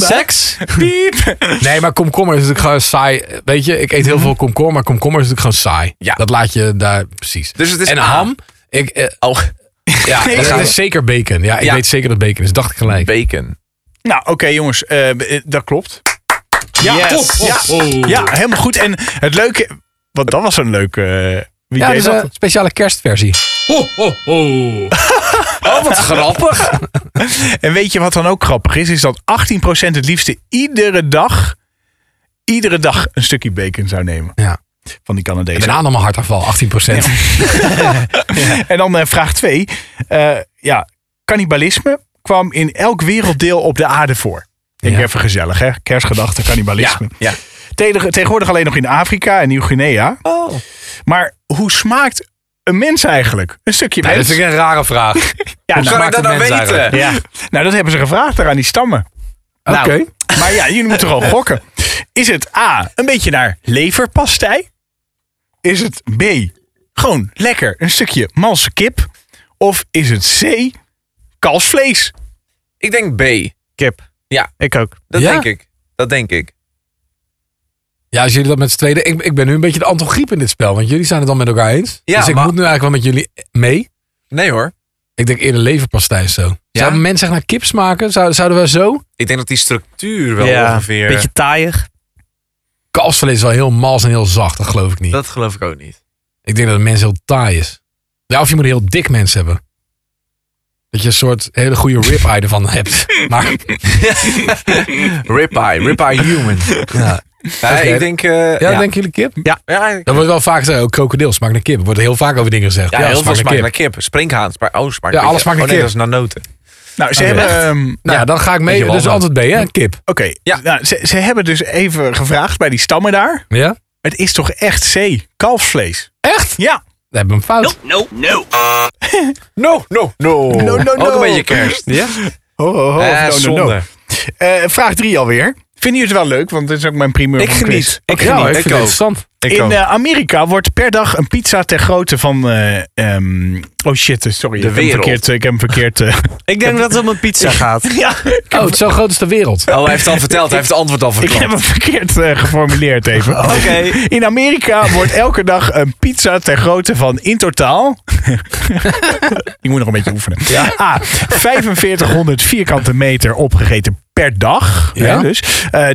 D: Seks?
C: piep.
A: Nee, maar komkommer is natuurlijk gewoon saai. Weet je, ik eet heel veel komkommer, maar komkommer is natuurlijk gewoon saai.
B: Mhm. Ja.
A: Dat laat je daar precies.
B: Dus het is
A: en
B: A.
A: ham, ik, eh,
B: Oh, [laughs]
A: ja,
C: Nee,
A: dat
C: ja.
A: is zeker bacon. Ja, ik
B: Ja.
A: weet zeker dat bacon is. Dacht ik gelijk.
B: bacon.
C: Nou, oké jongens, eh, eh, dat klopt. Ja, top. Ja,
B: Oh.
C: ja, helemaal goed. En het leuke, want dat was een leuke... eh, wie
A: ja,
C: deed
A: dat is
C: dat?
A: een speciale kerstversie. [laughs]
B: Oh, wat grappig.
C: En weet je wat dan ook grappig is? Is dat 18% het liefste iedere dag, iedere dag een stukje bacon zou nemen.
A: Ja.
C: Van die
A: En
C: Canadezen.
A: daarna nog mijn hartafval, 18
C: [laughs] En dan eh, vraag 2. ja, cannibalisme kwam in elk werelddeel op de aarde voor. Denk
A: Ja.
C: even gezellig, hè? Kerstgedachte, cannibalisme.
B: ja.
C: Tegen- Tegenwoordig alleen nog in Afrika en Nieuw-Guinea.
B: Oh.
C: Maar hoe smaakt een mens eigenlijk? Een stukje mens?
A: natuurlijk een rare vraag.
C: ja,
B: Hoe
C: nou,
B: kan ik
A: maakt het
B: dat nou
A: mens
B: weten?
A: eigenlijk?
C: ja. nou, dat hebben ze gevraagd eraan die stammen.
A: Oké.
C: Maar ja, jullie moeten gewoon gokken. Is het A, een beetje naar leverpastei? Is het B, gewoon lekker een stukje malse kip? Of is het C, kalfsvlees?
B: Ik denk B.
D: Kip.
B: Ja.
D: Ik ook.
B: Dat
A: Ja?
B: denk ik. Dat denk ik.
A: Ja, als jullie dat met z'n tweede. Ik, ik ben nu een beetje de Anton Griep in dit spel, want jullie zijn het dan met elkaar eens.
B: Ja,
A: dus ik
B: maar-
A: moet nu eigenlijk wel met jullie mee.
B: Nee hoor.
A: Ik denk eerder leverpastei of zo. Zouden mensen echt naar kip smaken? Zou- Zouden we zo?
B: Ik denk dat die structuur wel
D: ja.
B: ongeveer...
D: Beetje taaiig.
A: Kalfsvlees is wel heel mals en heel zacht, dat geloof ik niet.
B: Dat geloof ik ook niet.
A: Ik denk dat een mens heel taai is. Ja, of je moet een heel dik mens hebben. Dat je een soort hele goede rib-eye ervan hebt.
B: [laughs]
A: Maar
B: Ripeye. Ripeye human.
A: ja,
B: Ja,
A: Oké.
B: Ik denk... eh,
A: ja, denken jullie kip?
B: ja, ik-
A: Dat wordt wel vaak gezegd, ook krokodil smaakt naar kip. Er wordt heel vaak over dingen gezegd.
B: ja, heel veel
A: smaakt
B: smaakt naar kip. Sprinkhaan. smaakt- Oh, smaakt
A: Ja, alles
B: naar kip.
A: smaakt naar
B: Oh, nee,
A: kip.
B: dat is naar noten.
C: Nou, ze
A: Oké.
C: hebben... ehm,
A: Nou ja, dan ga ik mee.
B: Beetje
A: Dus
B: walnoot.
A: antwoord B, hè? Kip.
C: Oké,
B: Ja.
C: nou, ze, ze hebben dus even gevraagd bij die stammen daar.
A: Ja?
C: Het is toch echt C, kalfsvlees?
A: Echt?
C: Ja.
A: We hebben hem fout.
B: No, no, no.
C: no,
B: Ook
C: no.
B: een beetje kerst.
D: Ja?
C: Oh, oh, oh,
B: Eh,
C: of no, no, no.
B: zonde.
C: Eh, vraag 3 alweer. Vinden jullie het wel leuk? Want dit is ook mijn primeur
B: Ik
C: van quiz.
B: geniet.
C: Oké.
B: Ik
A: ja,
B: geniet.
A: ik
B: Ik
A: vind het
B: ook.
A: interessant.
B: Ik
C: In
B: ook.
C: eh, Amerika wordt per dag een pizza ter grootte van... eh, ehm, oh shit, sorry.
B: De
C: ik, heb hem
B: wereld.
C: verkeerd, ik heb hem
A: [laughs]
C: verkeerd... eh,
D: Ik denk dat het om een [laughs] pizza gaat.
C: ja,
A: Oh, het is zo groot als de wereld.
B: Oh, hij heeft het al verteld. Hij heeft het antwoord al
C: [laughs] ik heb
B: verklapt.
C: hem verkeerd eh, geformuleerd even.
A: Oh.
C: Oké. In Amerika wordt elke dag een pizza ter grootte van in totaal... [laughs] ik moet nog een beetje oefenen. A. 4500 vierkante meter opgegeten per dag.
A: Ja.
C: Hè, dus eh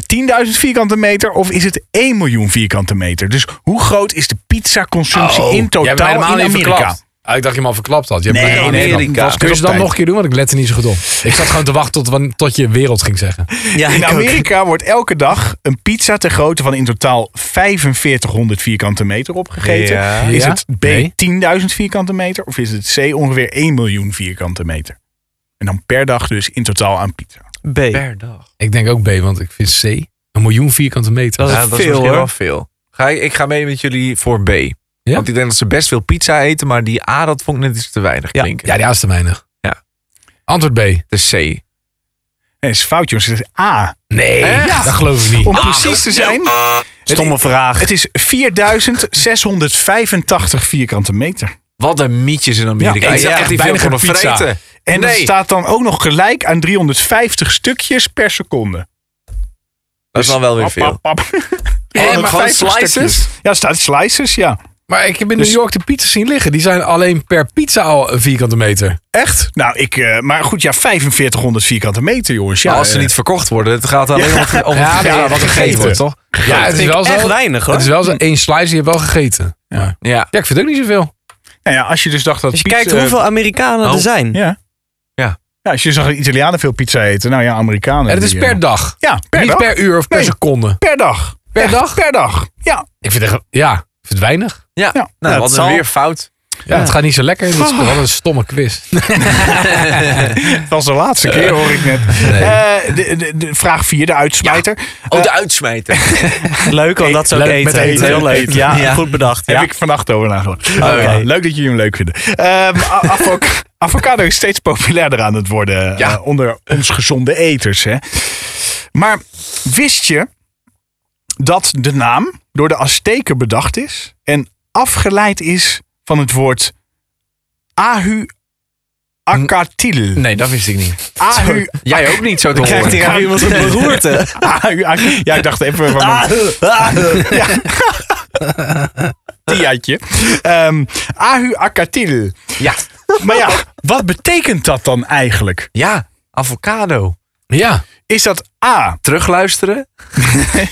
C: 10.000 vierkante meter of is het 1 miljoen vierkante meter? Dus hoe groot is de pizza consumptie in
A: Oh, Jij hebt me
C: totaal
A: helemaal
C: in
A: niet
C: Amerika?
A: verklapt. Ah, ik dacht je hem al verklapt had. Je hebt
C: Nee,
A: me helemaal niet
B: Amerika.
A: verklapt.
C: Was
A: Kun je het dan
C: kunsttijd.
A: nog een keer doen? Want ik lette niet zo goed op. Ik zat gewoon te wachten tot, wan- tot je wereld ging zeggen.
D: Ja,
C: In
D: ik ook.
C: Amerika wordt elke dag een pizza ter grootte van in totaal 4500 vierkante meter opgegeten.
B: Ja.
C: Is
A: Ja?
C: het B
A: Nee.
C: 10.000 vierkante meter of is het C ongeveer 1 miljoen vierkante meter? En dan per dag dus in totaal aan pizza.
D: B.
B: Per dag.
A: Ik denk ook B, want ik vind C een miljoen vierkante meter.
D: Dat is
B: Ja, dat is
D: veel,
B: misschien
D: hoor.
B: wel veel. Ga ik, ik ga mee met jullie voor B. Want ik denk dat ze best veel pizza eten, maar die A, dat vond ik net iets te weinig
D: Ja.
B: klinken.
A: Ja, die A is te weinig.
B: Ja.
A: Antwoord B.
B: De C.
C: En is fout jongens, het is A.
A: Nee,
C: Echt?
A: dat geloof ik niet.
C: Om precies te zijn,
D: Stomme vraag.
C: het is 4685 vierkante meter.
B: Wat een mietjes in Amerika.
C: Ja,
B: ik zou
C: ik
A: zou
B: echt niet veel
A: weinig
B: kunnen
A: aan pizza.
B: vreten.
C: En dat
B: Nee.
C: staat dan ook nog gelijk aan 350 stukjes per seconde.
B: Dat is dan wel weer veel.
C: Pap, [laughs] pap, pap.
B: En
C: maar
B: gewoon
C: 50
B: slices?
C: stukjes. Ja, staat slices, ja.
A: Maar ik heb in New York de pizzas zien liggen. Die zijn alleen per pizza al een vierkante meter.
C: Echt? Nou, ik, eh, maar goed, ja, 4500 vierkante meter, jongens. Ja,
B: Maar als ze
C: eh,
B: niet verkocht worden, het gaat alleen om het- om
A: Ja,
B: het
A: maar
B: ja, wat
A: gegeten.
B: gegeven wordt, toch?
A: Ja, het is wel
D: Echt
A: zo.
D: weinig hoor.
A: Het is wel zo. één slice, je hebt wel gegeten. Maar,
B: Ja.
A: ja, ik vind het ook niet zoveel.
C: nou ja, als je dus dacht dat
D: Als je
C: pizza-
D: kijkt hoeveel Amerikanen
B: Oh.
D: er zijn.
C: Ja.
B: Ja.
C: ja. Als je zag dat Italianen veel pizza eten, nou ja, Amerikanen.
A: En het is
C: die,
A: per
C: eh,
A: dag.
C: Ja, per
A: niet
C: dag.
A: per uur of per
C: Nee.
A: seconde.
C: Per dag.
A: Per
C: Echt,
A: dag?
C: Per dag. Ja.
A: Ik vind het echt- ja, ik vind het weinig.
B: Ja.
C: Ja.
B: Nou,
C: Ja,
B: wat
C: het
B: een
C: zal.
B: weer fout.
A: Ja, het gaat niet zo lekker. Dit is wel een stomme quiz.
C: Dat was de laatste keer, hoor ik net. Eh, de, de, de- vraag 4, de uitsmijter.
B: Oh, de uitsmijten.
D: Leuk, want dat is ook
C: Leuk
D: eten.
C: met eten.
D: Heel leuk.
C: Eten.
D: Ja,
B: Ja.
D: goed bedacht. Ja.
C: Heb ik vannacht over nagedacht. Oh,
B: ja.
C: Leuk dat jullie hem leuk vinden. Ehm,
D: [laughs]
C: a- avoc- avocado is steeds populairder aan het worden
B: Ja.
C: eh, onder ons gezonde eters. Hè? Maar wist je dat de naam door de Azteken bedacht is en afgeleid is van het woord ahu akatil?
B: Nee, dat wist ik niet.
C: Ahu
B: Jij ook niet, zo te
D: Krijgt
B: horen.
D: hier aan iemand een beroerte?
C: [laughs]
D: Ah.
C: Ahu ak- Ja, ik dacht even
D: [laughs]
C: van mijn tiaatje. Ehm, ahu akatil.
B: Ja.
C: Maar ja, wat betekent dat dan eigenlijk?
B: Ja, avocado.
A: Ja,
C: Is dat
B: [laughs]
C: A? Oh
B: Terugluisteren?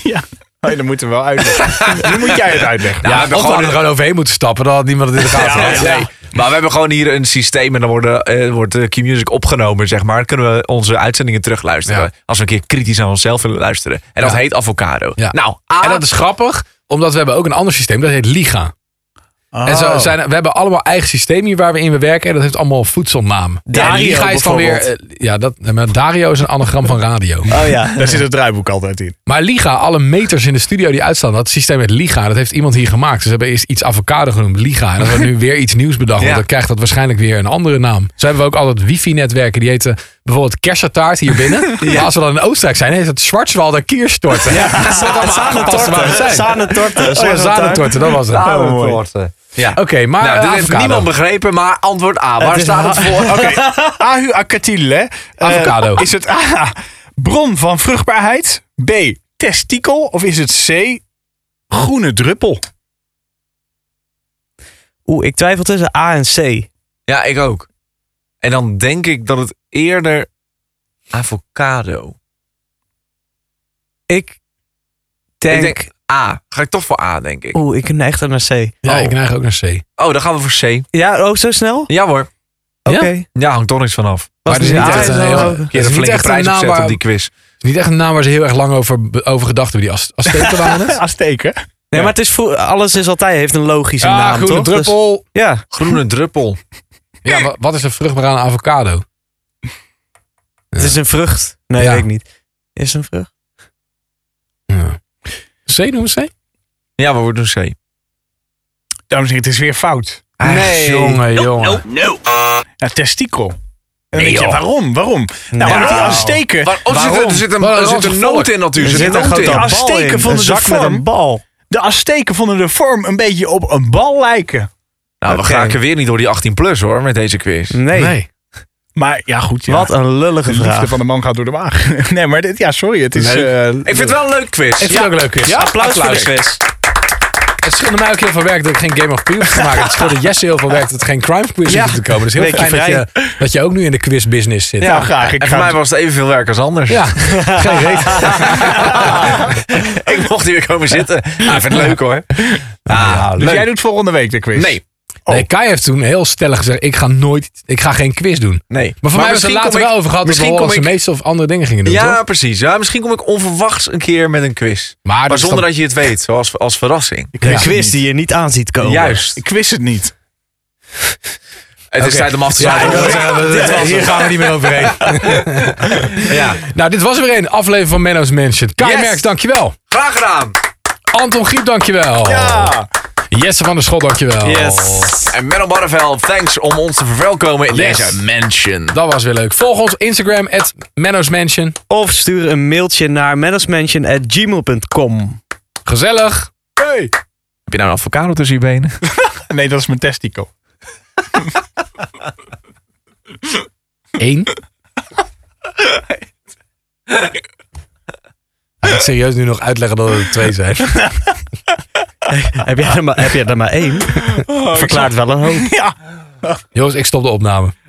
C: ja. Nee, dan moeten we wel uitleggen. nu moet jij het uitleggen.
A: ja
B: we
A: of we
B: hebben
A: hadden er gewoon overheen moeten stappen. Dan had niemand het in de gaten.
B: Ja,
A: gehad.
B: nee. Maar we hebben gewoon hier een systeem en dan worden, eh, wordt de Q-Music opgenomen, zeg maar. Dan kunnen we onze uitzendingen terugluisteren.
A: Ja.
B: Als we een keer kritisch aan onszelf willen luisteren. En dat
A: Ja.
B: heet avocado.
A: Ja.
B: Nou, A,
A: En dat is grappig, omdat we hebben ook een ander systeem. Dat heet Liga.
C: Oh.
A: En zo zijn, we hebben allemaal eigen systeem hier waar we in we werken. En dat heeft allemaal voedselnaam.
D: Dario
A: en Liga is dan weer...
D: bijvoorbeeld.
A: eh, ja, dat, maar Dario is een anagram van radio.
D: Oh ja.
C: Daar zit het draaiboek altijd in.
A: Maar Liga, alle meters in de studio die uitstaan, dat systeem met Liga, dat heeft iemand hier gemaakt. Dus ze hebben eerst iets avocado genoemd, Liga. En dat
B: [laughs]
A: wordt nu weer iets nieuws bedacht,
B: Ja.
A: want dan krijgt dat waarschijnlijk weer een andere naam. Zo hebben we ook altijd wifi-netwerken, die heten bijvoorbeeld kersenstaart hier
B: [laughs]
A: binnen. Maar als we dan in Oostenrijk zijn, heet het Schwarzwalder Kierstorten. Ja, [laughs] dat
D: Torten. Zanentorten.
A: Oh, Zanentorten, dat was het.
C: Oh, mooi.
A: Oké, maar
B: Nou,
A: eh,
B: dit heeft
A: avocado.
B: niemand begrepen, maar antwoord A. Waar
D: is
B: staat het
A: [laughs]
B: voor?
C: Oké, ahu akatil, hè? Eh,
A: Avocado.
C: is het A, bron van vruchtbaarheid? B, testikel? Of is het C, groene druppel?
D: Oeh, ik twijfel tussen A en C.
B: Ja, ik ook. En dan denk ik dat het eerder avocado.
D: Ik denk...
B: Ik denk A. Ga ik toch voor A, denk ik.
D: Oeh, ik neig dan naar C.
A: Ja,
B: Oh.
A: ik neig ook naar C.
B: Oh, dan gaan we voor C.
D: Ja, oh, zo snel?
B: Ja hoor.
A: Ja?
D: Oké.
B: Ja, hangt toch niks vanaf.
A: Maar het is
D: niet
A: niet
D: A,
A: echt
D: is
A: een
D: wel
A: heel-
D: ook.
A: het
B: Je
A: is
B: hebt een
A: niet
B: flinke
A: echt een
B: prijs
A: naam
B: opzet op
A: waar-
B: die quiz.
A: het is niet echt een naam waar ze heel erg lang over, over gedacht hebben, die Az- Azteken waren
B: [laughs]
A: het.
C: Azteken.
D: Nee, maar het is voor, alles is altijd, heeft een logische
A: Ja,
D: naam,
A: groene
D: toch? Dus-
A: druppel.
D: ja.
B: Groene druppel.
A: Ja, wa- wat is er vruchtbaar aan een avocado?
D: het is een vrucht. Nee,
A: Ja.
D: weet ik niet. Is het een vrucht?
A: C noemen ze?
B: Ja, maar we doen C.
C: Dames en heren, het is weer fout.
A: Nee. Jongen, jongen.
C: Ja, testikel. En dan denk je, waarom? Waarom? Nou,
D: Nou.
C: omdat die Azteken...
B: Waarom? Zit er, er zit een, er
A: Waarom?
B: zit een noot in natuurlijk. Er zit een noot
C: grote
B: in.
C: as- Azteken vonden
F: een
C: de
F: zak met
C: vorm.
F: een bal.
C: De Azteken vonden de vorm een beetje op een bal lijken.
B: Nou, we
F: Oké.
B: gaan weer niet door die 18 plus hoor, met deze quiz.
F: Nee.
A: Nee.
C: Maar ja, goed. Ja.
F: Wat een lullige
C: de liefde
F: vraag.
C: van de man gaat door de maag. [laughs] nee, maar dit, ja, sorry. Het is...
A: Leuk.
C: eh,
B: Ik vind het wel een leuk quiz.
A: Ik vind het ook leuk, Chris.
F: Applaus voor de
B: Applaus.
F: quiz.
A: Het scheelde mij ook heel veel werk dat ik geen Game of Thrones gemaakt heb. Het scheelde Jesse heel veel werk dat het geen crime quiz hoefde te komen. Dus heel
F: Weekje
A: fijn dat
F: vrij.
A: je, dat je ook nu in de quiz business zit.
C: nou, graag. Ik
B: En voor
C: ga
B: mij was het evenveel werk als anders. [laughs]
A: Ja, geen reet.
B: Ik mocht hier komen zitten. Ah, ik vind het leuk hoor. Ah,
C: Dus
B: leuk.
C: jij doet volgende week de quiz?
B: Nee,
A: Nee, Kai heeft toen heel stellig gezegd, ik ga nooit, ik ga geen quiz doen.
B: nee.
A: Maar voor mij was het
B: misschien
A: later
B: kom ik-
A: wel over gehad dat we
B: misschien
A: horen
B: kom
A: als de
B: ik-
A: meeste of andere dingen gingen doen,
B: Ja,
A: toch?
B: precies. Ja, misschien kom ik onverwachts een keer met een quiz.
A: Maar,
B: Maar zonder Ah, dat je het weet, zoals als verrassing.
A: je...
F: Een quiz die je niet aan ziet komen.
B: Juist.
C: Ik wist het niet.
B: Het is
A: Oké.
B: tijd om af te
A: Ja,
B: [laughs] sluiten.
A: hier gaan we niet meer overheen.
B: Ja.
A: Nou, dit was er weer een aflevering van Menno's Mansion. Kai
B: Yes.
A: Merks, dankjewel.
B: Graag gedaan.
A: Anton Giep, dankjewel.
C: Ja.
A: Jesse van der Schot, dankjewel.
F: Yes.
B: En Menno Barneveld, thanks om ons te verwelkomen in
A: Yes.
B: deze mansion.
A: Dat was weer leuk. Volg ons Instagram, at Menno's Mansion.
F: Of stuur een mailtje naar management@gmail.com.
A: Gezellig.
B: Heb je nou een avocado tussen je benen?
C: Nee, dat is mijn testico.
A: Eén. Hij gaat serieus nu nog uitleggen dat er twee zijn.
F: Heb jij er maar, heb jij er maar één? Verklaart wel een hoop.
A: Jongens, ik stop de opname.